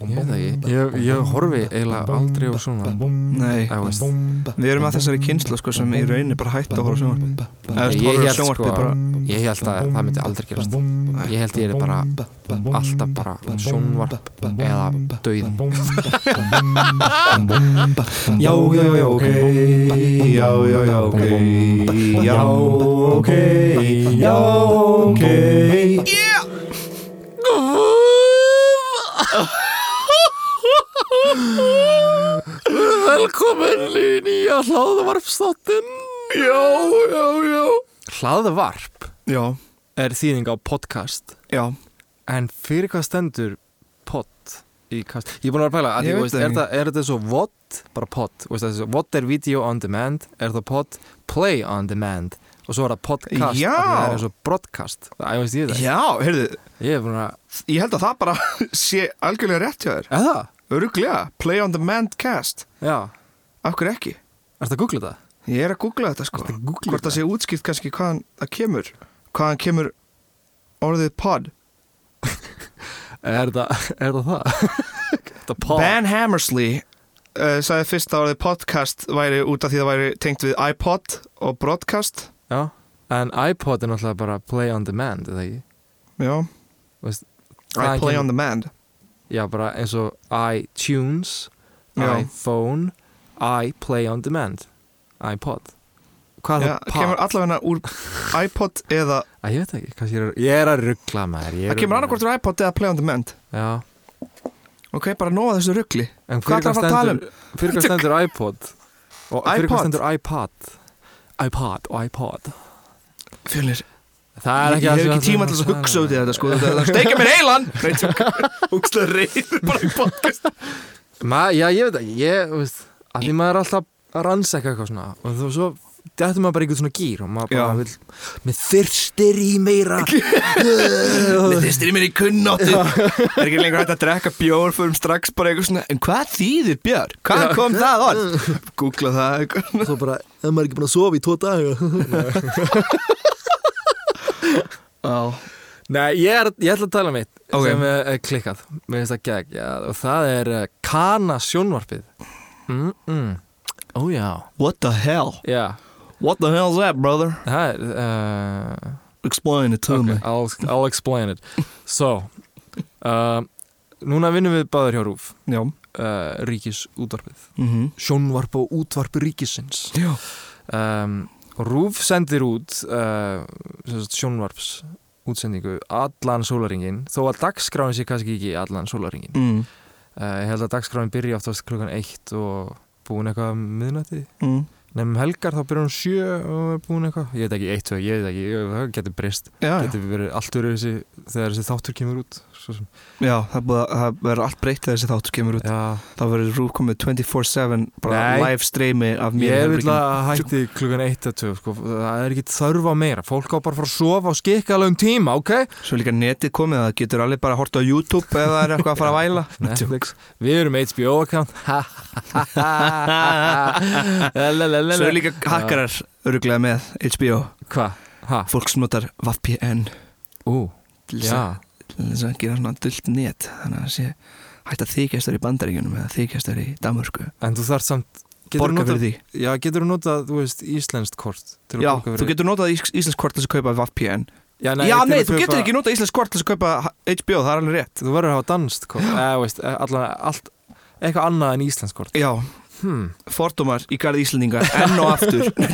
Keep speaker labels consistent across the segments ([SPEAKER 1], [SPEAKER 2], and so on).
[SPEAKER 1] Ég veit það ekki.
[SPEAKER 2] Ég, ég horfi eiginlega aldrei á svona
[SPEAKER 3] Nei.
[SPEAKER 2] Eða, veist.
[SPEAKER 3] Við erum að þessari kynslu sko sem í rauninni bara hætti að horfa á sjónvarp Eða þú veist,
[SPEAKER 2] Ég
[SPEAKER 3] horfir á
[SPEAKER 2] hélt,
[SPEAKER 3] sjónvarpið
[SPEAKER 2] sko,
[SPEAKER 3] bara
[SPEAKER 2] Ég held að það myndi aldrei gerast Ég held ég er bara alltaf bara sjónvarp eða döið
[SPEAKER 3] Já, já, já, ok Já, já, já, ok Já, ok Já, ok
[SPEAKER 2] Velkomin í nýja hlaðvarpstáttin Já, já, já Hlaðvarp
[SPEAKER 3] Já,
[SPEAKER 1] er þýðing á podcast
[SPEAKER 3] já
[SPEAKER 1] en fyrir hvað stendur pott í kast ég er búin að vera að pæla að
[SPEAKER 3] Ég
[SPEAKER 1] ég,
[SPEAKER 3] veit
[SPEAKER 1] veist,
[SPEAKER 3] það
[SPEAKER 1] er,
[SPEAKER 3] ekki.
[SPEAKER 1] það, er þetta svo what bara pott veist, það er svo, what er video on demand er það pott play on demand og svo er það podcast
[SPEAKER 3] Já.
[SPEAKER 1] af því það er svo broadcast það, ég veist ég það
[SPEAKER 3] Já, heyrðu,
[SPEAKER 1] ég er búin að
[SPEAKER 3] ég held að það bara sé algjörlega rétt hjá þér
[SPEAKER 1] er það
[SPEAKER 3] Öruglega, play on demand cast
[SPEAKER 1] já
[SPEAKER 3] Af hverju ekki?
[SPEAKER 1] er það að googla það
[SPEAKER 3] Ég er að googla þetta sko
[SPEAKER 1] Ertu að googla
[SPEAKER 3] Hvort það
[SPEAKER 1] þetta?
[SPEAKER 3] sé útskipt kannski hvaðan það kemur Hvaðan kemur orðið pod
[SPEAKER 1] er það er það það er það pott
[SPEAKER 3] Ben Hammersley uh, sagði fyrst að orðið podcast væri út af því það væri tengt við iPod og broadcast
[SPEAKER 1] já en iPod er náttúrulega bara play on demand er það ekki
[SPEAKER 3] Já,
[SPEAKER 1] veist
[SPEAKER 3] I
[SPEAKER 1] Hvaðan
[SPEAKER 3] play
[SPEAKER 1] kemur-
[SPEAKER 3] on demand
[SPEAKER 1] Já, bara eins og iTunes,
[SPEAKER 3] Já.
[SPEAKER 1] iPhone, iPlay on Demand, iPod. Hvað er
[SPEAKER 3] Já,
[SPEAKER 1] það?
[SPEAKER 3] kemur allavega úr iPod eða
[SPEAKER 1] Æ, ég veit ekki, kannski ég er, ég er að ruggla maður. ég er
[SPEAKER 3] það kemur
[SPEAKER 1] að
[SPEAKER 3] annarkvort úr iPod eða play on demand
[SPEAKER 1] Já.
[SPEAKER 3] Ok, bara nóða þessu ruggli
[SPEAKER 1] En fyrir
[SPEAKER 3] Hvað
[SPEAKER 1] hvað
[SPEAKER 3] ætlarðu að fara að tala um?
[SPEAKER 1] stendur, fyrir hvað stendur iPod? Og fyrir
[SPEAKER 3] iPod?
[SPEAKER 1] hvað stendur iPod? iPod og iPod.
[SPEAKER 3] Fjölnir,
[SPEAKER 1] Það er
[SPEAKER 3] ég,
[SPEAKER 1] ekki
[SPEAKER 3] ég
[SPEAKER 1] það
[SPEAKER 3] hef
[SPEAKER 1] sem
[SPEAKER 3] ekki tíma
[SPEAKER 1] ætlaði
[SPEAKER 3] til að
[SPEAKER 1] tala
[SPEAKER 3] hugsa
[SPEAKER 1] um.
[SPEAKER 3] út í þetta sko Það er steikja mér heilan Hugsa reyður bara í podcast
[SPEAKER 1] Ma, já, ég veit ekki, ég, þú veist, að því maður er alltaf að rannsaka eitthvað svona og þú svo, þetta maður bara í einhvern svona gýr og maður bara
[SPEAKER 3] Já.
[SPEAKER 1] vil, með þyrstir í meira.
[SPEAKER 3] Mér þistir í mér í kunnáttu Er ekki lengur hægt að drekka bjór Förum strax bara eitthvað svona En hvað þýðir bjór? Hvað kom það on? Googla það eitthvað
[SPEAKER 1] og svo bara, ef maður er ekki búin að sofa í tvo daga
[SPEAKER 3] Já,
[SPEAKER 1] Nei, ég, er, ég ætla að tala um eitt
[SPEAKER 3] Ok.
[SPEAKER 1] sem er, er klikkað, mér finnst það gegg já, og það er uh, Kana sjónvarpið mm -mm. Ó já
[SPEAKER 3] What the hell?
[SPEAKER 1] Já,
[SPEAKER 3] What the hell is that, brother?
[SPEAKER 1] það er uh,
[SPEAKER 3] Explain it to
[SPEAKER 1] Ok,
[SPEAKER 3] me.
[SPEAKER 1] I'll, I'll explain it So uh, Núna vinnum við báður hjá Rúf
[SPEAKER 3] Já.
[SPEAKER 1] uh, Ríkis útvarpið
[SPEAKER 3] Mm
[SPEAKER 1] Sjónvarp og útvarp ríkisins
[SPEAKER 3] Já.
[SPEAKER 1] um, Rúf sendir út uh, sem sagt, sjónvarps útsendingu allan sólaringin þó að dagskráin sé kannski ekki allan sólaringin
[SPEAKER 3] Mm.
[SPEAKER 1] uh, ég held að dagskráin byrja oftast klukkan eitt og búin eitthvað um miðnætti
[SPEAKER 3] Mm.
[SPEAKER 1] nefnum helgar þá byrja hún sjö og er búin eitthvað ég veit ekki eitt og ég veit ekki ég- það getur breyst
[SPEAKER 3] Ah, Já, já.
[SPEAKER 1] getur verið allt verið þessi þegar þessi þáttur kemur út svo sem
[SPEAKER 3] já, það er búið að- það verður allt breytt þegar þessi þáttur kemur út.
[SPEAKER 1] já
[SPEAKER 3] Þá verður Rúf komið 24-7 bara
[SPEAKER 1] Nei.
[SPEAKER 3] live streymi af mér.
[SPEAKER 1] Ég
[SPEAKER 3] í
[SPEAKER 1] vil
[SPEAKER 3] herberginu.
[SPEAKER 1] að hætti klukkan 1 að 2 sko. það er ekki þörf á meira fólk á bara að fara að sofa og skikka alveg um tíma ok?
[SPEAKER 3] Svo er líka netið komið að það getur alveg bara að horta á YouTube ef það er eitthvað að fara að væla.
[SPEAKER 1] Netflix, við erum HBO account
[SPEAKER 3] Svo er
[SPEAKER 1] Lalalala.
[SPEAKER 3] líka hakkarar öruglega með HBO.
[SPEAKER 1] Hva? Ha?
[SPEAKER 3] Fólk sem notar VPN
[SPEAKER 1] Ú,
[SPEAKER 3] til þess að-
[SPEAKER 1] já
[SPEAKER 3] til þess að gera svona dullt net. Þannig að það sé hægt að þykjast þær í bandaríkunum eða þykjast þær í Danmörku.
[SPEAKER 1] En þú þarf samt
[SPEAKER 3] Borga fyrir
[SPEAKER 1] notað,
[SPEAKER 3] því.
[SPEAKER 1] Já, getur þú notað, þú veist, íslenskt kort til að
[SPEAKER 3] Já,
[SPEAKER 1] borga
[SPEAKER 3] þú
[SPEAKER 1] fyrir
[SPEAKER 3] getur notað ís- íslensk kort til þess að kaupa VPN
[SPEAKER 1] Já,
[SPEAKER 3] Já,
[SPEAKER 1] til
[SPEAKER 3] nei,
[SPEAKER 1] að
[SPEAKER 3] þú
[SPEAKER 1] kaupa-
[SPEAKER 3] getur ekki notað íslensk kort til þess að kaupa H- HBO, það er alveg rétt
[SPEAKER 1] Þú verður að hafa danst kort Eða, veist, eh, allan, allt Eitthvað annað en íslenskt kort
[SPEAKER 3] Já,
[SPEAKER 1] hmm.
[SPEAKER 3] fordómar í garð Íslendinga enn og aftur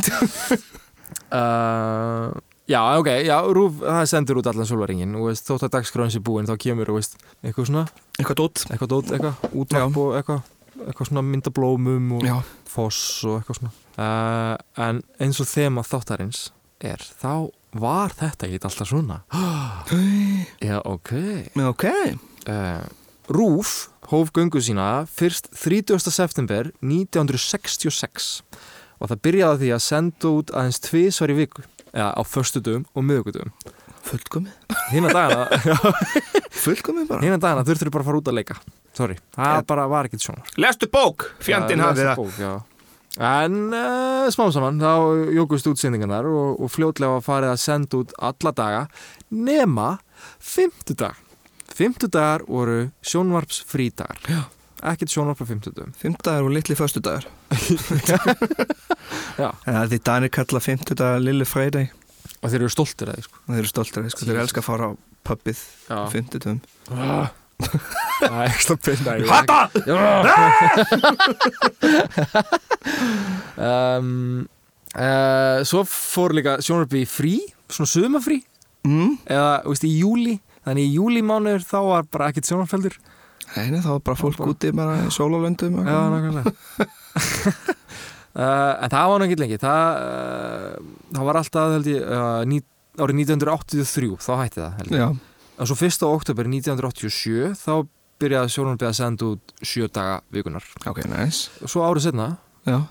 [SPEAKER 1] uh, Já, ok, já, Rúf, það sendur út allan sólvaringin og veist, þótt að dagskráin sé búin þá kemur, þú veist, eitthvað svona
[SPEAKER 3] Eitthvað dótt
[SPEAKER 1] eitthvað dót, eitthvað, útvarp og eitthvað eitthvað svona myndablómum og
[SPEAKER 3] Já,
[SPEAKER 1] foss og eitthvað svona uh, en eins og þema þáttarins er þá var þetta ekki alltaf svona já ok
[SPEAKER 3] já ok
[SPEAKER 1] uh, Rúf hóf göngu sína fyrst 30. september 1966 og það byrjaði á því að senda út aðeins tvisvar í viku eða á föstudum og miðugudum
[SPEAKER 3] Fullkomi,
[SPEAKER 1] hinn að dagana,
[SPEAKER 3] fullkomi bara
[SPEAKER 1] hina dagana þurftur bara að fara út að leika sorry, það
[SPEAKER 3] Já.
[SPEAKER 1] bara var ekkert svona
[SPEAKER 3] Lestu bók,
[SPEAKER 1] Já,
[SPEAKER 3] hafði
[SPEAKER 1] lesa bók, já. En uh, smám saman þá jókust útsendingarnar og, og fljótlega var farið að senda út alla daga nema fymtudag. Fymtudagar voru sjónvarpsfrídagar Ekkert sjónvarp á fymtudum
[SPEAKER 3] Fymtudagar og litli föstudagar
[SPEAKER 1] Já.
[SPEAKER 3] Það er því Danir kalla fymtudagar Lilli Friday
[SPEAKER 1] Og þeir eru stoltir að því sko
[SPEAKER 3] og þeir eru stoltir af því, sko, þeir elskar að fara á pubbið á fymtudum
[SPEAKER 1] Ah. Það er ekki stoppið
[SPEAKER 3] Hata!
[SPEAKER 1] um, uh, Svo fór líka sjónvarpi í frí Svona sumafrí
[SPEAKER 3] Mm.
[SPEAKER 1] Eða, þú veist, í júli Þannig í júlimánuður þá var bara ekkert sjónvarpfældur
[SPEAKER 3] Nei, nei, þá var bara fólk
[SPEAKER 1] Bara-
[SPEAKER 3] úti bara í sólalöndum og
[SPEAKER 1] Já,
[SPEAKER 3] eitthvað.
[SPEAKER 1] nákvæmlega uh, En það var náttúrulega lengi Það, uh, það var alltaf, held ég, uh, ní, árið 1983 Þá hætti það, held ég
[SPEAKER 3] Já,
[SPEAKER 1] En svo 1. oktober 1987 Þá byrjaði sjónvarpið að senda út sjö daga vikunar
[SPEAKER 3] ok, nice
[SPEAKER 1] Og svo árið setna
[SPEAKER 3] Já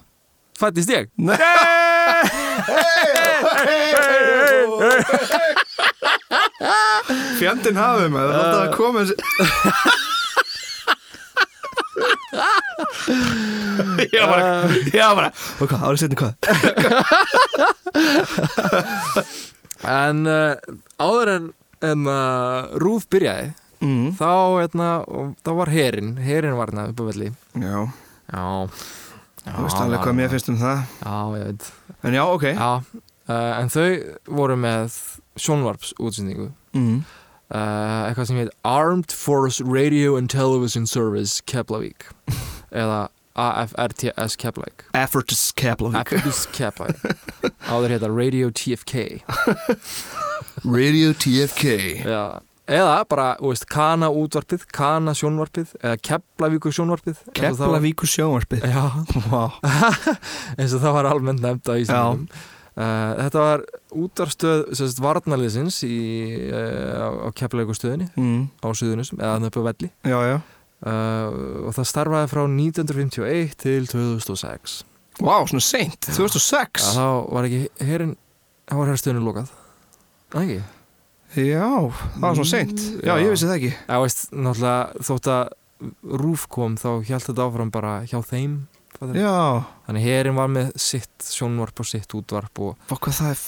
[SPEAKER 1] Fættist ég
[SPEAKER 3] Nei! Fjandinn hafið maður, það er alltaf að koma þessi Já, bara, já, bara Og hvað, árið setni hvað?
[SPEAKER 1] En uh, áður en, en uh, Rúf byrjaði
[SPEAKER 3] Mm.
[SPEAKER 1] þá, etna, og, þá var herin herin var hérna upp á velli
[SPEAKER 3] Já,
[SPEAKER 1] Já
[SPEAKER 3] þú veist alveg hvað mér finnst um það
[SPEAKER 1] Já, ég veit
[SPEAKER 3] En já, ok
[SPEAKER 1] Já, uh, en þau voru með sjónvarps útsendingu
[SPEAKER 3] mm.
[SPEAKER 1] uh, eitthvað sem heit Armed Force Radio and Television Service Keflavík eða AFRTS Keflavík
[SPEAKER 3] Effortus Keflavík
[SPEAKER 1] AFRTS Keflavík áður heita Radio TFK
[SPEAKER 3] Radio TFK
[SPEAKER 1] Já, eða bara, þú veist, Kana útvarpið, Kana sjónvarpið eða Keflavíkur sjónvarpið eins og það var-
[SPEAKER 3] Keflavíkur sjónvarpið
[SPEAKER 1] Já,
[SPEAKER 3] Eh, Vá
[SPEAKER 1] eins og það var almennt nefnd á Íslandum uh, Þetta var útvarpstöð sérst, varnarliðsins í, uh, á Keflavíkurstöðinni
[SPEAKER 3] mm.
[SPEAKER 1] á Suðunusum, eða hann upp á Velli
[SPEAKER 3] Já, já
[SPEAKER 1] uh, og það starfaði frá 1951 til 2006
[SPEAKER 3] Vá, svona seint, 2006
[SPEAKER 1] Já, þá var ekki herin, þá var herstöðinu lokað Það ekki?
[SPEAKER 3] Já, það var svona seint Já,
[SPEAKER 1] Já.
[SPEAKER 3] ég vissi það ekki
[SPEAKER 1] Já, veist, náttúrulega þótt að Rúf kom þá held þetta áfram bara hjá þeim fattar?
[SPEAKER 3] Já,
[SPEAKER 1] Þannig herin var með sitt sjónvarp og sitt útvarp og
[SPEAKER 3] og hvað það er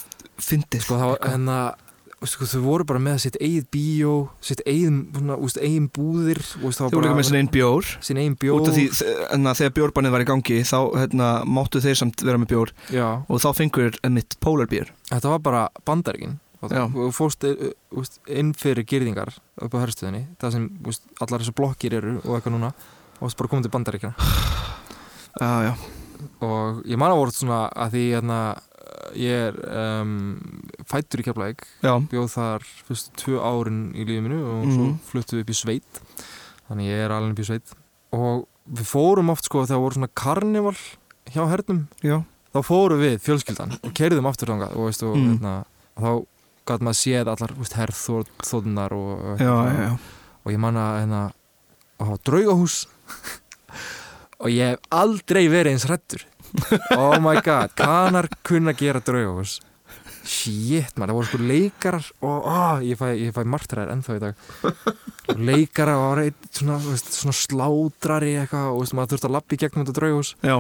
[SPEAKER 3] fyndið
[SPEAKER 1] sko það var
[SPEAKER 3] Eitthvað.
[SPEAKER 1] en að veistu, hvað, þau voru bara með sitt eigið bíó sitt eigin, svona, úst, eigin búðir úst,
[SPEAKER 3] Þau voru líka með sinni einn bjór
[SPEAKER 1] sín eigin bjór
[SPEAKER 3] Út af því, þ- en að þegar bjórbannið var í gangi þá hérna, máttu þeir samt vera með bjór
[SPEAKER 1] Já,
[SPEAKER 3] og þá fengur mitt pólarbjór
[SPEAKER 1] þetta var bara bandaríkin
[SPEAKER 3] Já.
[SPEAKER 1] og fórst eh, úst, inn fyrir gyrðingar upp á herstuðinni það sem úst, allar þessar blokkir eru og eitthvað núna og það bara komið til bandaríkina
[SPEAKER 3] Já, já,
[SPEAKER 1] og ég man að voru svona að því hérna, ég er um, fættur í Keflæk
[SPEAKER 3] já
[SPEAKER 1] bjóð þar fyrstu tvö árin í lífið minu og svo
[SPEAKER 3] Mhm.
[SPEAKER 1] fluttum við upp í sveit þannig ég er alveg upp í sveit og við fórum oft sko þegar voru svona karnival hjá hernum
[SPEAKER 3] Já,
[SPEAKER 1] þá fórum við fjölskyldan og kerðum aftur þangað og, veist, og
[SPEAKER 3] Mm.
[SPEAKER 1] hérna, þá gæti maður séð allar veist, herðþóðnar og, og,
[SPEAKER 3] já, já, já.
[SPEAKER 1] og ég manna hérna, og það var draugahús og ég hef aldrei verið eins hrættur oh my god, kanar kunna gera draugahús shit man, það voru sko leikarar og oh, ég fæ, ég fæ martræðir ennþá í dag leikarar og reynd svona, þú veist, svona slátrari eitthvað og veist, maður þurfti að lappi gegnum þetta draugahús
[SPEAKER 3] já.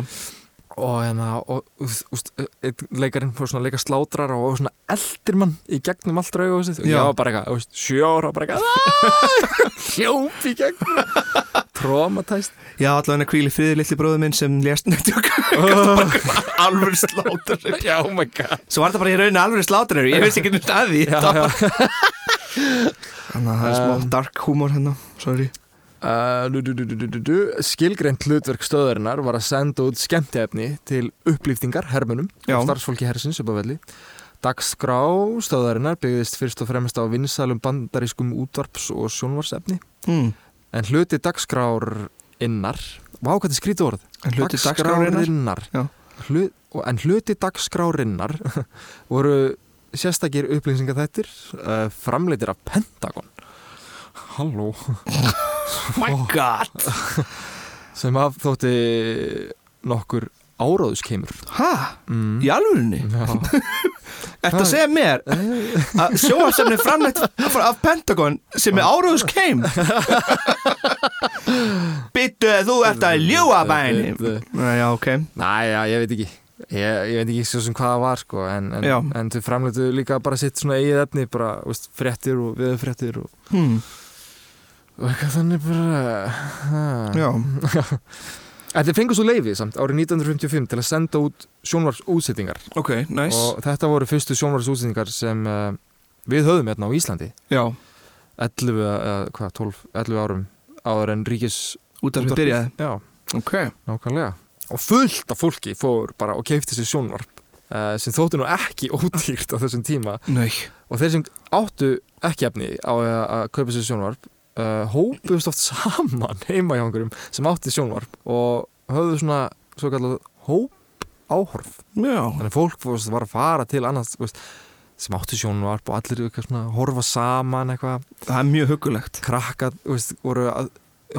[SPEAKER 1] og, hérna, og úst, úst, einn leikarinn fór svona að leika slátrar og svona eldir mann í gegnum allt rauðhúsið og
[SPEAKER 3] Já.
[SPEAKER 1] ég var bara eitthvað, þú veist, sjö ára bara eitthvað "Ah!" hljóp í gegnum traumatæst
[SPEAKER 3] já allavega hvíli friði litli bróðu minn sem lést nættu alveg slátur
[SPEAKER 1] já, oh my god
[SPEAKER 3] Svo var þetta bara í rauninni alveg slátur ég veist ekki nýtt að því
[SPEAKER 1] já,
[SPEAKER 3] Það-
[SPEAKER 1] já. Um.
[SPEAKER 3] Þannig að það er smá dark humor hérna, sorry
[SPEAKER 1] Uh, du, du, du, du, du, du, du. skilgreint hlutverk stöðarinnar var að senda út skemmtefni til upplýftingar hermunum
[SPEAKER 3] Já.
[SPEAKER 1] og starfsfólki hersins upp á velli dagskrá stöðarinnar byggðist fyrst og fremst á vinsalum bandarískum útvarps og sjónvarsefni Hmm.
[SPEAKER 3] mm.
[SPEAKER 1] En hluti dagskrárinnar Vá, hvað þetta skrítið orð
[SPEAKER 3] En hluti hérna. dagskrárinnar Já.
[SPEAKER 1] Hlu, og- En hluti dagskrárinnar voru sérstakir upplýsingar þettir uh, framleitir af Pentagon Halló Oh
[SPEAKER 3] My god
[SPEAKER 1] sem af þótti nokkur áráðuskeimur
[SPEAKER 3] Hæ?
[SPEAKER 1] mm.
[SPEAKER 3] Í alvörinni?
[SPEAKER 1] Já,
[SPEAKER 3] Ertu að segja mér að sjóarsefni framleitt af af Pentagon sem er áraðus keim? Bittu, þú ert að ljúa bæni
[SPEAKER 1] Bittu.
[SPEAKER 3] Já, ok
[SPEAKER 1] Næja, ég veit ekki Ég, ég veit ekki svo sem hvað það var sko en, en,
[SPEAKER 3] Já.
[SPEAKER 1] en þau framleitu líka bara sitt svona eigið efni bara, veist, fréttir og viðfréttir og
[SPEAKER 3] hmm.
[SPEAKER 1] og eitthvað þannig bara ha.
[SPEAKER 3] Já,
[SPEAKER 1] Þetta fengur svo leiði samt árið 1955 til að senda út sjónvarsútsettingar
[SPEAKER 3] ok, næs
[SPEAKER 1] og þetta voru fyrstu sjónvarsútsettingar sem uh, við höfum hérna á Íslandi
[SPEAKER 3] Já,
[SPEAKER 1] 11, uh, hvað, 12, 11 árum áður en ríkis
[SPEAKER 3] útarfið
[SPEAKER 1] Útvarpið.
[SPEAKER 3] byrjaði
[SPEAKER 1] Já,
[SPEAKER 3] Ok,
[SPEAKER 1] nákvæmlega og fullt af fólki fór bara og keifti sér sjónvarp uh, sem þóttu nú ekki ódýrt á þessum tíma
[SPEAKER 3] nei
[SPEAKER 1] og þeir sem áttu ekki efni á að, að kaupa sér sjónvarp uh, hópuðust oft saman heima hjá einhverjum sem átti sjónvarp og höfðu svona svo kallað hóp áhorf
[SPEAKER 3] Já,
[SPEAKER 1] þannig að fólk þú veist, var að fara til annars þú veist, sem átti sjónvarp og allir eitthvað svona horfa saman eitthvað
[SPEAKER 3] það er mjög hugulegt
[SPEAKER 1] krakka þú veist, voru að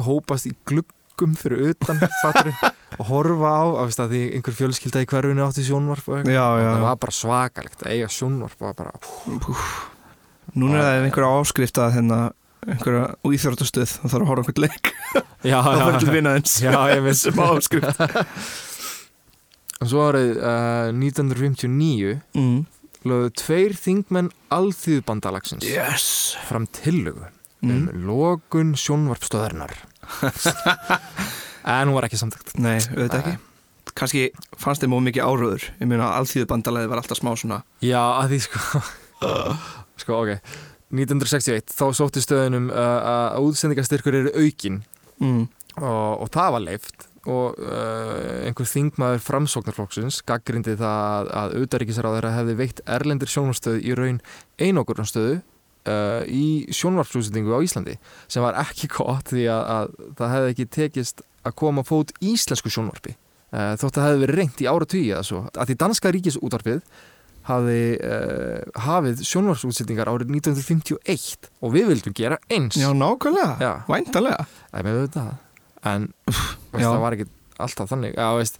[SPEAKER 1] hópast í gluggum fyrir utan fattur og horfa á að, veist, að því einhver fjölskylda í hverfinu átti sjónvarp og eitthvað
[SPEAKER 3] Já,
[SPEAKER 1] það
[SPEAKER 3] já,
[SPEAKER 1] var bara svakalegt að eiga sjónvarp og bara
[SPEAKER 3] núna er það einhverja áskrift að hérna einhverja íþjóðarstuð, það þarf að horfa á einhvern leik
[SPEAKER 1] já,
[SPEAKER 3] það fyrir til vinnaðins
[SPEAKER 1] já, ég veist
[SPEAKER 3] sem áskrift
[SPEAKER 1] En svo árið uh, 1959
[SPEAKER 3] mm.
[SPEAKER 1] lögðu tveir þingmenn alþýðbandalagsins
[SPEAKER 3] Yes
[SPEAKER 1] fram tillögu um
[SPEAKER 3] mm.
[SPEAKER 1] lokun sjónvarpstöðarnar. en hún var ekki samtækt.
[SPEAKER 3] Nei, auðvitað ekki Kanski fannst þeim of mikið áraður Ég meina alþýðubandalagið var alltaf smá svona
[SPEAKER 1] Já, að því sko... sko, ok. 1961, þá sótti stöðunum uh, að útsendingastyrkur eru aukin
[SPEAKER 3] mm.
[SPEAKER 1] og, og það var leift og uh, einhver þingmaður framsóknarflokksins gaggrindi það að, að auðaríkisráðara hefði veitt erlendir sjónvarstöð í raun einokuranstöðu uh, í sjónvarpsúsendingu á Íslandi sem var ekki gott því að, að það hefði ekki tekist að koma á fót íslensku sjónvarpi uh, þótt að það hefði verið reynt í áratvíi eða svo að því danska ríkisútvarpið hafði uh, hafið sjónvarsúsendingar árið 1951 og við vildum gera eins
[SPEAKER 3] Já, nákvæmlega,
[SPEAKER 1] Já.
[SPEAKER 3] væntalega
[SPEAKER 1] Það er með auðvitað En veist,
[SPEAKER 3] já.
[SPEAKER 1] það var ekki alltaf þannig Já, veist,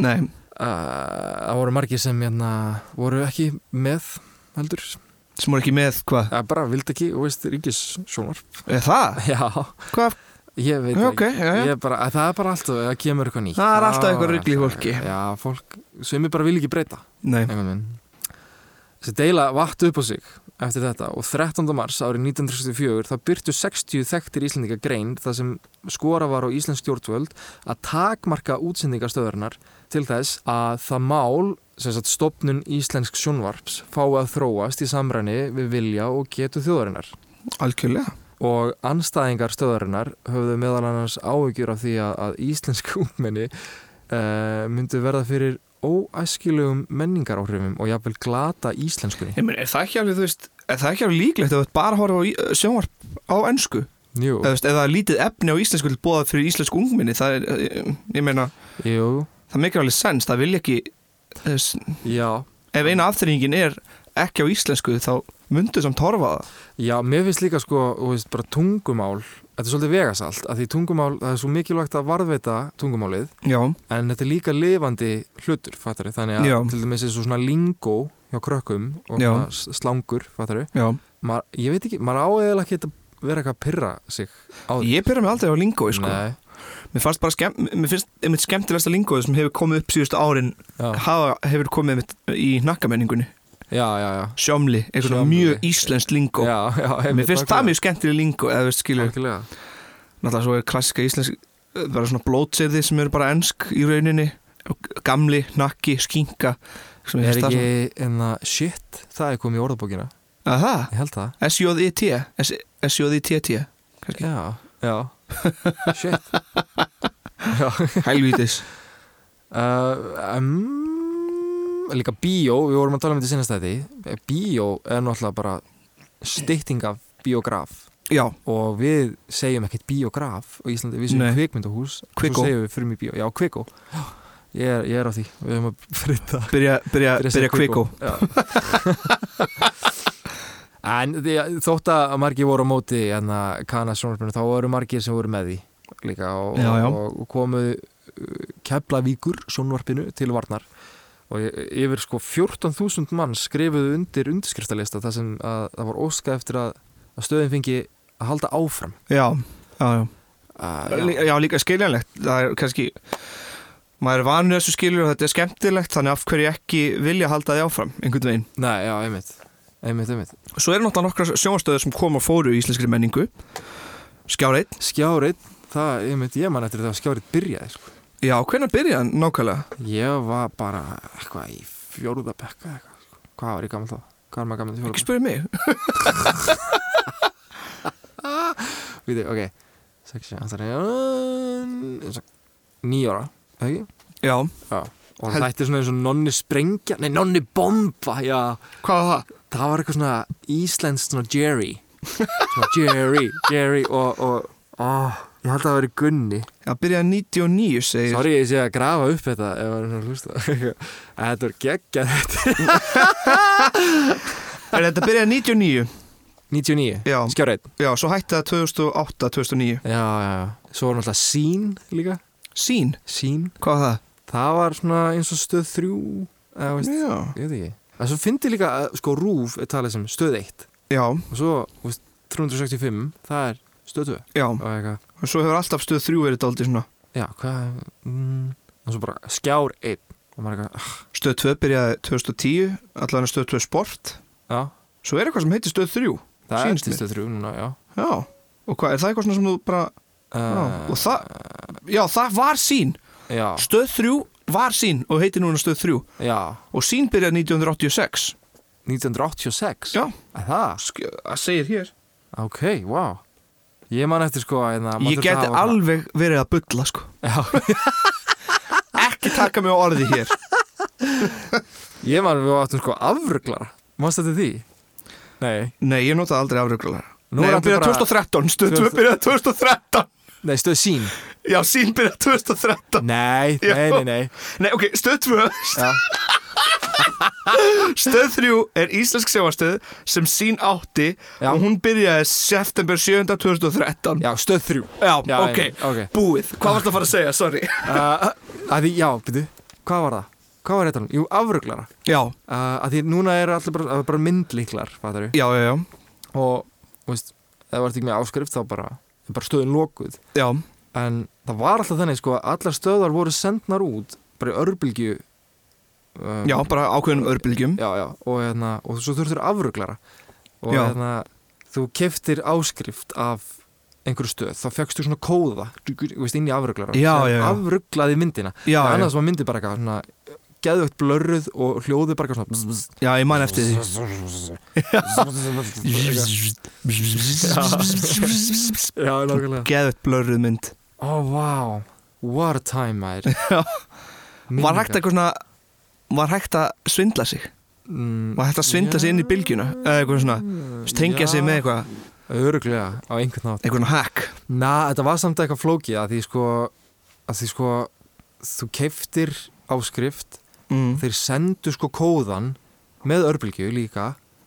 [SPEAKER 3] Nei,
[SPEAKER 1] uh, það voru margir sem hérna, voru ekki með heldur
[SPEAKER 3] sem voru ekki með hvað
[SPEAKER 1] Það bara vildi ekki, þú veist, ríkis sjónar
[SPEAKER 3] Er það?
[SPEAKER 1] Já,
[SPEAKER 3] Hvað?
[SPEAKER 1] ég veit
[SPEAKER 3] Já,
[SPEAKER 1] það
[SPEAKER 3] ok, já,
[SPEAKER 1] ekki
[SPEAKER 3] já
[SPEAKER 1] ég bara, að Það er bara alltaf, það kemur eitthvað nýtt
[SPEAKER 3] Það er alltaf
[SPEAKER 1] Já,
[SPEAKER 3] eitthvað rugl í
[SPEAKER 1] alltaf-
[SPEAKER 3] fólki.
[SPEAKER 1] Já, fólk, sem ég bara vil ekki breyta
[SPEAKER 3] Nei,
[SPEAKER 1] einhvern veginn Þessi deila vatt upp á sig eftir þetta og 13. mars árið 1964 þá byrtu 60 þekktir íslendinga grein þar sem skora var á Íslensk stjórnvöld að takmarka útsendingastöðurnar til þess að það mál sem sagt stopnun Íslensk sjónvarps fái að þróast í samræni við vilja og getu þjóðarinnar
[SPEAKER 3] algjörlega
[SPEAKER 1] og anstæðingar stöðarinnar höfðu meðal annars áhyggjur af því að, að íslensk ungmenni uh, myndu verða fyrir óæskilegum menningaráhrifum og jafnvel glata íslenskunni.
[SPEAKER 3] Ég meina, er það ekki alveg, þú veist Er það ekki alveg líklegt ef þú ert bara að horfa á í- sjónvarp á ennsku?
[SPEAKER 1] Jú,
[SPEAKER 3] Eða, þú veist, ef það er lítið efni á íslensku til bóða fyrir íslensku ungminni Það er, eh, ég meina,
[SPEAKER 1] jú,
[SPEAKER 3] það mikil alveg sens Það vil ekki þess,
[SPEAKER 1] já,
[SPEAKER 3] Ef eina afþrýingin er ekki á íslensku þá myndu samt horfa á það
[SPEAKER 1] já, mér finnst líka sko, þú veist, bara tungumál, þetta er svolítið vegasalt, að því tungumál, það er svo mikilvægt að varðveita tungumálið,
[SPEAKER 3] Já,
[SPEAKER 1] en þetta er líka lifandi hlutur, fattari, þannig að
[SPEAKER 3] Já.
[SPEAKER 1] til dæmis er svo svona lingó hjá krökkum og
[SPEAKER 3] Já.
[SPEAKER 1] svona s- slangur, fattari,
[SPEAKER 3] já
[SPEAKER 1] maður, ég veit ekki, maður á eða ekki að vera eitthvað að pyrra sig á því
[SPEAKER 3] Ég byrja mig aldrei á lingói sko
[SPEAKER 1] Nei,
[SPEAKER 3] Mér fannst bara skemm, mér finnst einmitt skemmtilegsta lingóið sem hefur komið upp síðustu árin
[SPEAKER 1] já,
[SPEAKER 3] hafa, hefur komið einmitt í nakkamenningunni
[SPEAKER 1] já, já, já.
[SPEAKER 3] Sjómli, eitthvað
[SPEAKER 1] Sjómli.
[SPEAKER 3] mjög íslenskt lingó
[SPEAKER 1] já, já
[SPEAKER 3] Sko. Mér finnst það mjög skemmtileg lingó eða veist skilur,
[SPEAKER 1] skilur
[SPEAKER 3] náttúrulega svo er klassika íslensk eh, bara svona blótsirði sem eru bara ensk í rauninni og gamli, nakki, skinka sem mér
[SPEAKER 1] Er
[SPEAKER 3] finnst það
[SPEAKER 1] ekki, en að shit, það er komið í orðabókina
[SPEAKER 3] svona- Að það?
[SPEAKER 1] Ég held það,
[SPEAKER 3] S-J-I-T S- S-J-I-T-T kannski.
[SPEAKER 1] já, já Shit Já
[SPEAKER 3] Helvítis
[SPEAKER 1] uh, um, Líka bíó, við vorum að tala um þetta í sinastæði Bíó er náttúrulega bara stytting af bíógraf
[SPEAKER 3] Já,
[SPEAKER 1] og við segjum ekkert bíógraf á Íslandi, við segjum
[SPEAKER 3] Nei.
[SPEAKER 1] kvikmyndahús
[SPEAKER 3] Kvikó.
[SPEAKER 1] og svo segjum við fyrir mig bíó, já kvikó ég er, ég er á því, við höfum að frita
[SPEAKER 3] byrja, byrja,
[SPEAKER 1] Fyrir að
[SPEAKER 3] byrja
[SPEAKER 1] segja
[SPEAKER 3] kvikó
[SPEAKER 1] Kvikó. Já. en því, að- þótt að margir voru á móti en að kana sjónarspinu þá voru margir sem voru með því líka og,
[SPEAKER 3] Já, já.
[SPEAKER 1] og, og komu uh, keflavíkur sjónvarpinu til varnar og y- yfir sko 14.000 mann skrifuðu undir undirskriftalista þar sem að það var óska eftir að, að stöðin fengi að halda áfram
[SPEAKER 3] Já, já,
[SPEAKER 1] uh,
[SPEAKER 3] já Lí- Ah, Já, líka skiljanlegt Það er kannski Maður er vanur þessu skilur og þetta er skemmtilegt Þannig af hverju ekki vilja halda því áfram einhvern veginn
[SPEAKER 1] Nei, já, einmitt einmitt, einmitt
[SPEAKER 3] Svo eru náttúrulega nokkra sjónastöður sem kom og fóru í íslenskri menningu Skjáreit
[SPEAKER 1] Skjárið, það, ég veit, ég man eftir þegar skjárið byrjaði, sko.
[SPEAKER 3] Já, hvernig byrja hann nákvæmlega?
[SPEAKER 1] Ég var bara eitthvað í fjórða bekka eitthvað, sko. Hvað var ég gammal þá? Hvað var maður gammal í
[SPEAKER 3] Ekki
[SPEAKER 1] fjórða
[SPEAKER 3] spyrja mig
[SPEAKER 1] bekka? Við þau, ok, 6, 7, 8, 9 ára, eða ekki?
[SPEAKER 3] Já,
[SPEAKER 1] Já. Og hann
[SPEAKER 3] Held-
[SPEAKER 1] þætti svona eins og nonni sprengja, nei, nonni bomba, já.
[SPEAKER 3] hvað var það?
[SPEAKER 1] Það var eitthvað svona íslenskt svona Jerry. Svona Jerry, Jerry og, og, ó, ég held að það væri Gunni.
[SPEAKER 3] Já, byrjaði 99 segir
[SPEAKER 1] Sorry ég sé að grafa upp þetta ef það er svona hlusta En Þetta er geggjað þetta
[SPEAKER 3] Er þetta byrjaði 99?
[SPEAKER 1] 99,
[SPEAKER 3] Já,
[SPEAKER 1] skjáreit
[SPEAKER 3] já, svo hætti það 2008, 2009
[SPEAKER 1] Já, já, já Svo var náttúrulega sín líka
[SPEAKER 3] Sín,
[SPEAKER 1] Sín
[SPEAKER 3] hvað var það?
[SPEAKER 1] Það var svona eins og stöð 3 eða veist,
[SPEAKER 3] Já,
[SPEAKER 1] ég veit ekki En svo fyndi líka að sko rúf er talið sem stöð 1
[SPEAKER 3] já,
[SPEAKER 1] Og svo, þú veist, 365 Það er stöð 2
[SPEAKER 3] já
[SPEAKER 1] Og eitthvað,
[SPEAKER 3] Og svo hefur alltaf stöð þrjú verið dálítið svona
[SPEAKER 1] já, hvað mm, Og svo bara skjár 1 Og maður eitthvað, ah,
[SPEAKER 3] Stöð 2 byrjaði 2010, allan stöð 2 sport
[SPEAKER 1] já
[SPEAKER 3] Svo er eitthvað sem heitir stöð þrjú
[SPEAKER 1] Það
[SPEAKER 3] Sýnist
[SPEAKER 1] er
[SPEAKER 3] mér.
[SPEAKER 1] stöð 3 núna, já
[SPEAKER 3] Já, og hvað, er það eitthvað svona sem þú bara Já, og
[SPEAKER 1] uh,
[SPEAKER 3] það, já, það var sín
[SPEAKER 1] Já,
[SPEAKER 3] Stöð þrjú var sín og heitir núna stöð þrjú
[SPEAKER 1] já
[SPEAKER 3] Og sín byrjaði 1986
[SPEAKER 1] 1986
[SPEAKER 3] Já,
[SPEAKER 1] Er Það
[SPEAKER 3] sk- það segir hér
[SPEAKER 1] Ok, wow Ég man eftir sko einna,
[SPEAKER 3] Ég geti alveg verið að bulla sko
[SPEAKER 1] Já,
[SPEAKER 3] Ekki taka mig á orði hér
[SPEAKER 1] ég man við áttum sko afruglara Manst þetta því? Nei,
[SPEAKER 3] Nei, ég notaði aldrei afruglulega
[SPEAKER 1] Nú
[SPEAKER 3] Nei,
[SPEAKER 1] er
[SPEAKER 3] hann
[SPEAKER 1] allir
[SPEAKER 3] byrjaði
[SPEAKER 1] bara-
[SPEAKER 3] 2013, stöð 2 byrjaði 2013
[SPEAKER 1] nei, stöð sín
[SPEAKER 3] Já, sín byrjaði 2013
[SPEAKER 1] Nei,
[SPEAKER 3] Já.
[SPEAKER 1] nei, nei, nei
[SPEAKER 3] Nei, ok, stöð 2
[SPEAKER 1] Já.
[SPEAKER 3] Stöð 3 er íslensk sjáastöð sem sín átti
[SPEAKER 1] Já.
[SPEAKER 3] og hún byrjaði september 7. 2013
[SPEAKER 1] Já, stöð þrjú
[SPEAKER 3] Já,
[SPEAKER 1] Já,
[SPEAKER 3] ok,
[SPEAKER 1] já, ok.
[SPEAKER 3] búið Hvað varst að fara að segja, sorry
[SPEAKER 1] uh, að Því, já, byrju, hvað var það? Hvað var þetta? Jú, afruglara uh,
[SPEAKER 3] Já,
[SPEAKER 1] að Því núna eru allir bara, það er bara myndlíklar Fattar við
[SPEAKER 3] já, já, já,
[SPEAKER 1] Og, þú veist, ef það var ekki með áskrift þá bara er bara stöðin lokuð
[SPEAKER 3] já.
[SPEAKER 1] en það var alltaf þannig sko að allar stöðar voru sendnar út bara í örbylgju um,
[SPEAKER 3] Já, bara ákveðnum örbylgjum
[SPEAKER 1] já, já, og, hérna, og svo þurftur afruglara og
[SPEAKER 3] Já.
[SPEAKER 1] hérna, þú keftir áskrift af einhverju stöð, þá fegstu svona kóða þú veist, inn í afruglara
[SPEAKER 3] Já, já, já.
[SPEAKER 1] afruglaði myndina,
[SPEAKER 3] Já,
[SPEAKER 1] en
[SPEAKER 3] já,
[SPEAKER 1] annars var myndi bara eitthvað svona geðvögt blörruð og hljóðu bara eitthvað svona bzz,
[SPEAKER 3] já, ég man eftir því
[SPEAKER 1] bzz. já, nákvæmlega
[SPEAKER 3] Geðvett blörruð mynd
[SPEAKER 1] ó, oh, wow, what a time maður
[SPEAKER 3] Já. Var hægt eitthvað svona Var hægt að svindla sig
[SPEAKER 1] mm,
[SPEAKER 3] Var hægt að svindla sig inn í bylgjuna Eða eitthvað svona Tengja sig með eitthvað
[SPEAKER 1] eitthvað öruglega Mm. á einhvern nátt
[SPEAKER 3] Eitthvað svona hack
[SPEAKER 1] Na, þetta var samt eitthvað flókið að því sko, að því sko þú keiftir áskrift
[SPEAKER 3] mm.
[SPEAKER 1] þeir sendu sko kóðan með örbylgju líka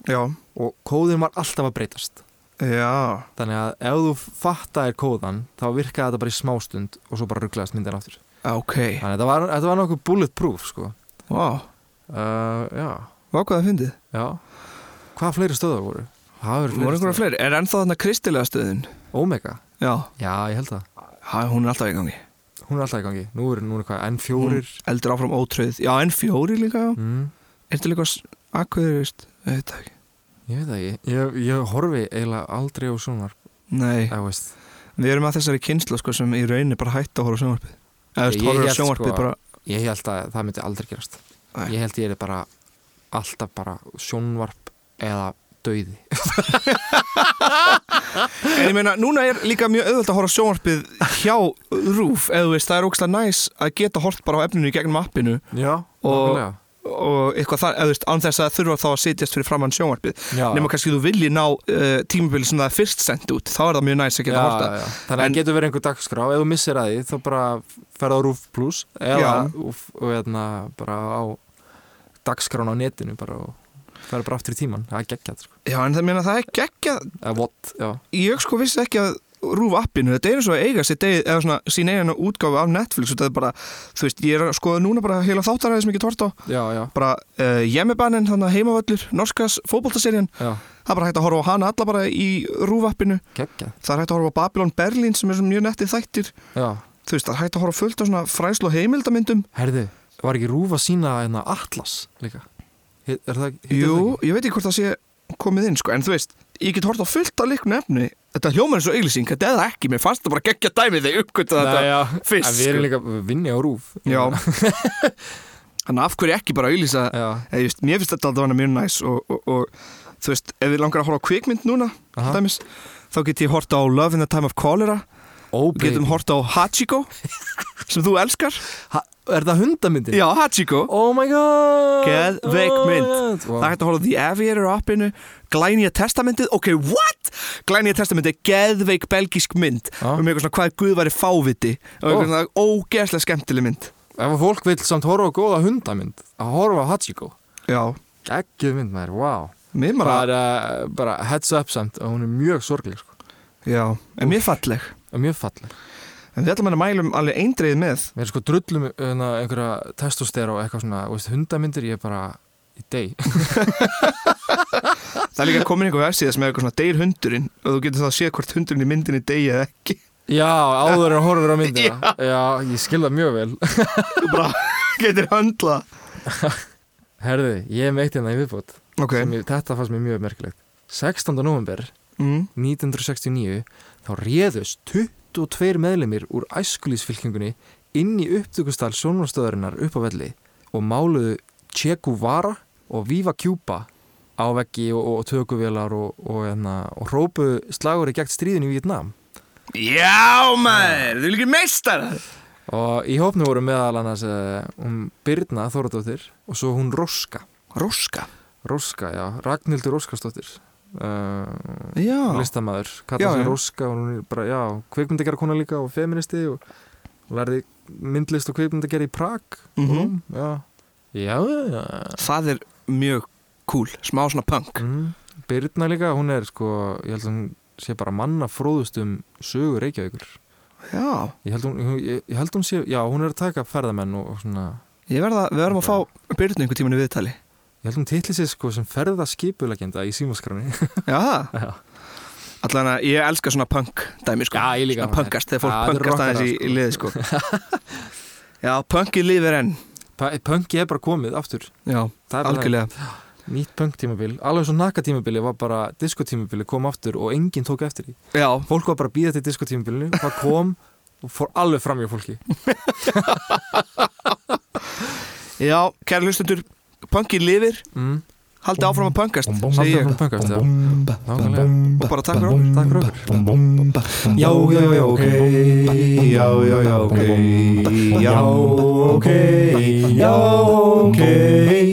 [SPEAKER 3] Já
[SPEAKER 1] og kóðin var alltaf að breytast
[SPEAKER 3] Já
[SPEAKER 1] þannig að ef þú fattaðir kóðan þá virkaði þetta bara í smástund og svo bara rugglaðast myndin aftur
[SPEAKER 3] Ok
[SPEAKER 1] þannig að þetta var, þetta var nokkuð bulletproof sko
[SPEAKER 3] Vá
[SPEAKER 1] uh, já,
[SPEAKER 3] Vá hvað það fyndið
[SPEAKER 1] já hvað fleiri stöðar voru? Það
[SPEAKER 3] Var
[SPEAKER 1] voru
[SPEAKER 3] einhverja fleiri Er ennþá þarna kristilega stöðin
[SPEAKER 1] fleiri Omega,
[SPEAKER 3] Já
[SPEAKER 1] já ég held það
[SPEAKER 3] ha, Hún er alltaf í gangi
[SPEAKER 1] hún er alltaf í gangi, nú er, nú er hvað N4
[SPEAKER 3] Hún Eldur áfram ótröð Já en fjóri líka já.
[SPEAKER 1] mm.
[SPEAKER 3] Er þetta líka Akkuðurist Þetta ekki
[SPEAKER 1] Ég veit það ekki, ég, ég horfi eiginlega aldrei á sjónvarp,
[SPEAKER 3] Nei
[SPEAKER 1] eða veist
[SPEAKER 3] Við erum að þessari kynsla sko, sem í rauninni bara hætti að horfa á sjónvarpið Eða
[SPEAKER 1] Ég-
[SPEAKER 3] þú horfir
[SPEAKER 1] ég
[SPEAKER 3] á
[SPEAKER 1] hélt,
[SPEAKER 3] sjónvarpið
[SPEAKER 1] sko,
[SPEAKER 3] bara
[SPEAKER 1] Ég held að það myndi aldrei gerast
[SPEAKER 3] Nei.
[SPEAKER 1] Ég held ég er bara alltaf bara sjónvarp eða dauði
[SPEAKER 3] En ég meina, núna er líka mjög auðvöld að horfa á sjónvarpið hjá Rúf eða þú veist, það er ógslag næs að geta hort bara á efninu í gegnum appinu
[SPEAKER 1] Já,
[SPEAKER 3] og, og eitthvað þar, eða þú veist, án þess að þurfa þá að sitjast fyrir framann sjónvarpið
[SPEAKER 1] já,
[SPEAKER 3] nema kannski þú vilji ná uh, tímabili sem það er fyrst sendt út, þá er það mjög næs að geta horta
[SPEAKER 1] já, já. Þannig að
[SPEAKER 3] En-
[SPEAKER 1] en... getur verið einhver dagskrá ef þú missir að því, þá bara ferða á Rúf Plus eða
[SPEAKER 3] Já.
[SPEAKER 1] og, og hérna bara á dagskrán á netinu bara og ferða bara aftur í tíman Það er geggjað, sko.
[SPEAKER 3] Já, en það meina það er geggja
[SPEAKER 1] eða what, já
[SPEAKER 3] ég sko vissi ekki að Rúf appinu, þetta er eins og að eiga sitt eigið, eða svona sín eigin útgáfi af Netflix og þetta er bara, þú veist, ég er að skoða núna bara heila þáttaræði sem ég get hort á
[SPEAKER 1] Já, já,
[SPEAKER 3] bara uh, Jemmibanin, þannig að heimavöllur, Norskas, fótboltaserjan
[SPEAKER 1] já,
[SPEAKER 3] Það er bara hægt að horfa á hana alla bara í rúfappinu.
[SPEAKER 1] geggjað
[SPEAKER 3] Það er hægt að horfa á Babylon Berlin sem er svona mjög nettið þættir.
[SPEAKER 1] Já,
[SPEAKER 3] Þú veist, það er hægt að horfa á fullt á svona fræslu og heimildamyndum.
[SPEAKER 1] herðu, var ekki Rúf að sína hérna Atlas líka? Hi- Er það, heitir það
[SPEAKER 3] Jú,
[SPEAKER 1] ekki?
[SPEAKER 3] ég veit ekki hvort það sé komið inn, sko. En þú veist, ég get hort á fullt að leiknu efni Þetta hljóma eins og auglýsing, þetta er það ekki Mér fannst það bara geggja dæmi þegar ég uppkvönda þetta
[SPEAKER 1] já,
[SPEAKER 3] fyrst,
[SPEAKER 1] en við erum
[SPEAKER 3] sko.
[SPEAKER 1] líka vinni á rúf
[SPEAKER 3] Já Þannig að af hverju ekki bara auglýsa
[SPEAKER 1] Já,
[SPEAKER 3] eða, just, Mér finnst þetta alltaf hana mjög næs og, og, og þú veist, ef við langar að horfa á kvikmynd núna
[SPEAKER 1] Aha.
[SPEAKER 3] dæmis, Þá get ég horta á Love in the Time of Cholera
[SPEAKER 1] Ó,
[SPEAKER 3] Við getum
[SPEAKER 1] baby.
[SPEAKER 3] horta á Hachiko Sem þú elskar
[SPEAKER 1] ha, Er það hundamyndin?
[SPEAKER 3] Já, Hachiko
[SPEAKER 1] Oh my god
[SPEAKER 3] Geðveik
[SPEAKER 1] Oh my
[SPEAKER 3] mynd.
[SPEAKER 1] god. Vá.
[SPEAKER 3] Það er hægt að horfa á The Aviator á appinu Glænýja testamentið, ok, what? Glænýja testamentið er geðveik belgísk mynd
[SPEAKER 1] Já.
[SPEAKER 3] um eitthvað svona hvað Guð væri fáviti og
[SPEAKER 1] Ó.
[SPEAKER 3] eitthvað svona ógeðslega skemmtileg mynd
[SPEAKER 1] Ef að fólk vil samt horfa á góða hundamynd að horfa á Hachiko
[SPEAKER 3] Já,
[SPEAKER 1] Geggjöð mynd maður, wow
[SPEAKER 3] mér bara,
[SPEAKER 1] bara, bara heads up samt og hún er mjög sorgleg sko.
[SPEAKER 3] já, en mér falleg
[SPEAKER 1] og mjög falleg
[SPEAKER 3] En við ætlum að mælum alveg eindreið með
[SPEAKER 1] Við erum sko drullum hérna, einhverja testostera og eitthvað svona, þú veist, hundamyndir ég er bara í deg
[SPEAKER 3] Það er líka komin einhver versið sem er eitthvað svona deyr hundurinn og þú getur þá að sé hvort hundurinn í myndinni deyja eða ekki
[SPEAKER 1] Já, áður en horfur á myndina Já, ég skil það mjög vel
[SPEAKER 3] Þú bara getur höndla
[SPEAKER 1] Herði, ég er meitt hérna í viðbót
[SPEAKER 3] Ok,
[SPEAKER 1] sem ég, Þetta fannst mér mjög merkilegt 16. november
[SPEAKER 3] mm.
[SPEAKER 1] 1969 þá réðust 22 meðlumir úr æskulísfylkingunni inn í upptökustal sjónvarstöðarinnar upp á velli og máluðu Che Guevara og Viva Cuba á veggi og, og tökuvélar og, og, hérna, og rópuðu slagur í gegn stríðinu í Vietnam
[SPEAKER 3] Já maður, þú er líka meistar
[SPEAKER 1] og í hópni voru meðal annars eh, hún Birna Þóradóttir og svo hún Róska
[SPEAKER 3] Róska
[SPEAKER 1] Róska, já, Ragnhildur Róskastóttir uh,
[SPEAKER 3] Já,
[SPEAKER 1] listamæður,
[SPEAKER 3] Já,
[SPEAKER 1] kallar sig
[SPEAKER 3] já.
[SPEAKER 1] Róska og hún er bara, já, kveikmyndagera kona líka og feministi og lærði myndlist og kveikmyndagera í Prag mm
[SPEAKER 3] Mhm.
[SPEAKER 1] -hmm. já, já, já
[SPEAKER 3] það er mjög cool, smá svona punk
[SPEAKER 1] mm. Birna líka, hún er sko ég held að hún sé bara manna fróðust um sögu Reykjavíkur
[SPEAKER 3] Já,
[SPEAKER 1] ég held hún, hún- ég, ég held hún sé, já, hún er að taka ferðamenn og, og svona,
[SPEAKER 3] ég verða, við verðum að fá Byrnu einhver tíma í viðtali
[SPEAKER 1] ég held hún titli sér sko sem ferðaskipulegenda í símaskrani
[SPEAKER 3] Já,
[SPEAKER 1] já,
[SPEAKER 3] allan að ég elska svona punk dæmi sko
[SPEAKER 1] Já, ég líka.
[SPEAKER 3] Svona punkast, þegar
[SPEAKER 1] Já,
[SPEAKER 3] fólk
[SPEAKER 1] þetta er
[SPEAKER 3] punkast aðeins í,
[SPEAKER 1] rockarar,
[SPEAKER 3] í liði sko Já, punkið lifir enn
[SPEAKER 1] Pa- punki er bara komið aftur
[SPEAKER 3] Já,
[SPEAKER 1] Það er bara það.
[SPEAKER 3] algjörlega
[SPEAKER 1] nýtt punktímabil, alveg svo nakatímabili var bara diskotímabili kom aftur og enginn tók eftir því
[SPEAKER 3] Já,
[SPEAKER 1] fólk var bara að býða til diskotímabilinu það kom og fór alveg fram hjá fólki
[SPEAKER 3] já, kæra hlustendur Punkið lifir,
[SPEAKER 1] mm.
[SPEAKER 3] haldið áfram að punkast segi
[SPEAKER 1] Haldið
[SPEAKER 3] ég.
[SPEAKER 1] áfram að punkast, já. Nákvæmlega.
[SPEAKER 2] Og bara takk fyrir okkur
[SPEAKER 1] Takk fyrir
[SPEAKER 2] okkur Já, já, já, ok Já, já, já, ok Já, ok Já, ok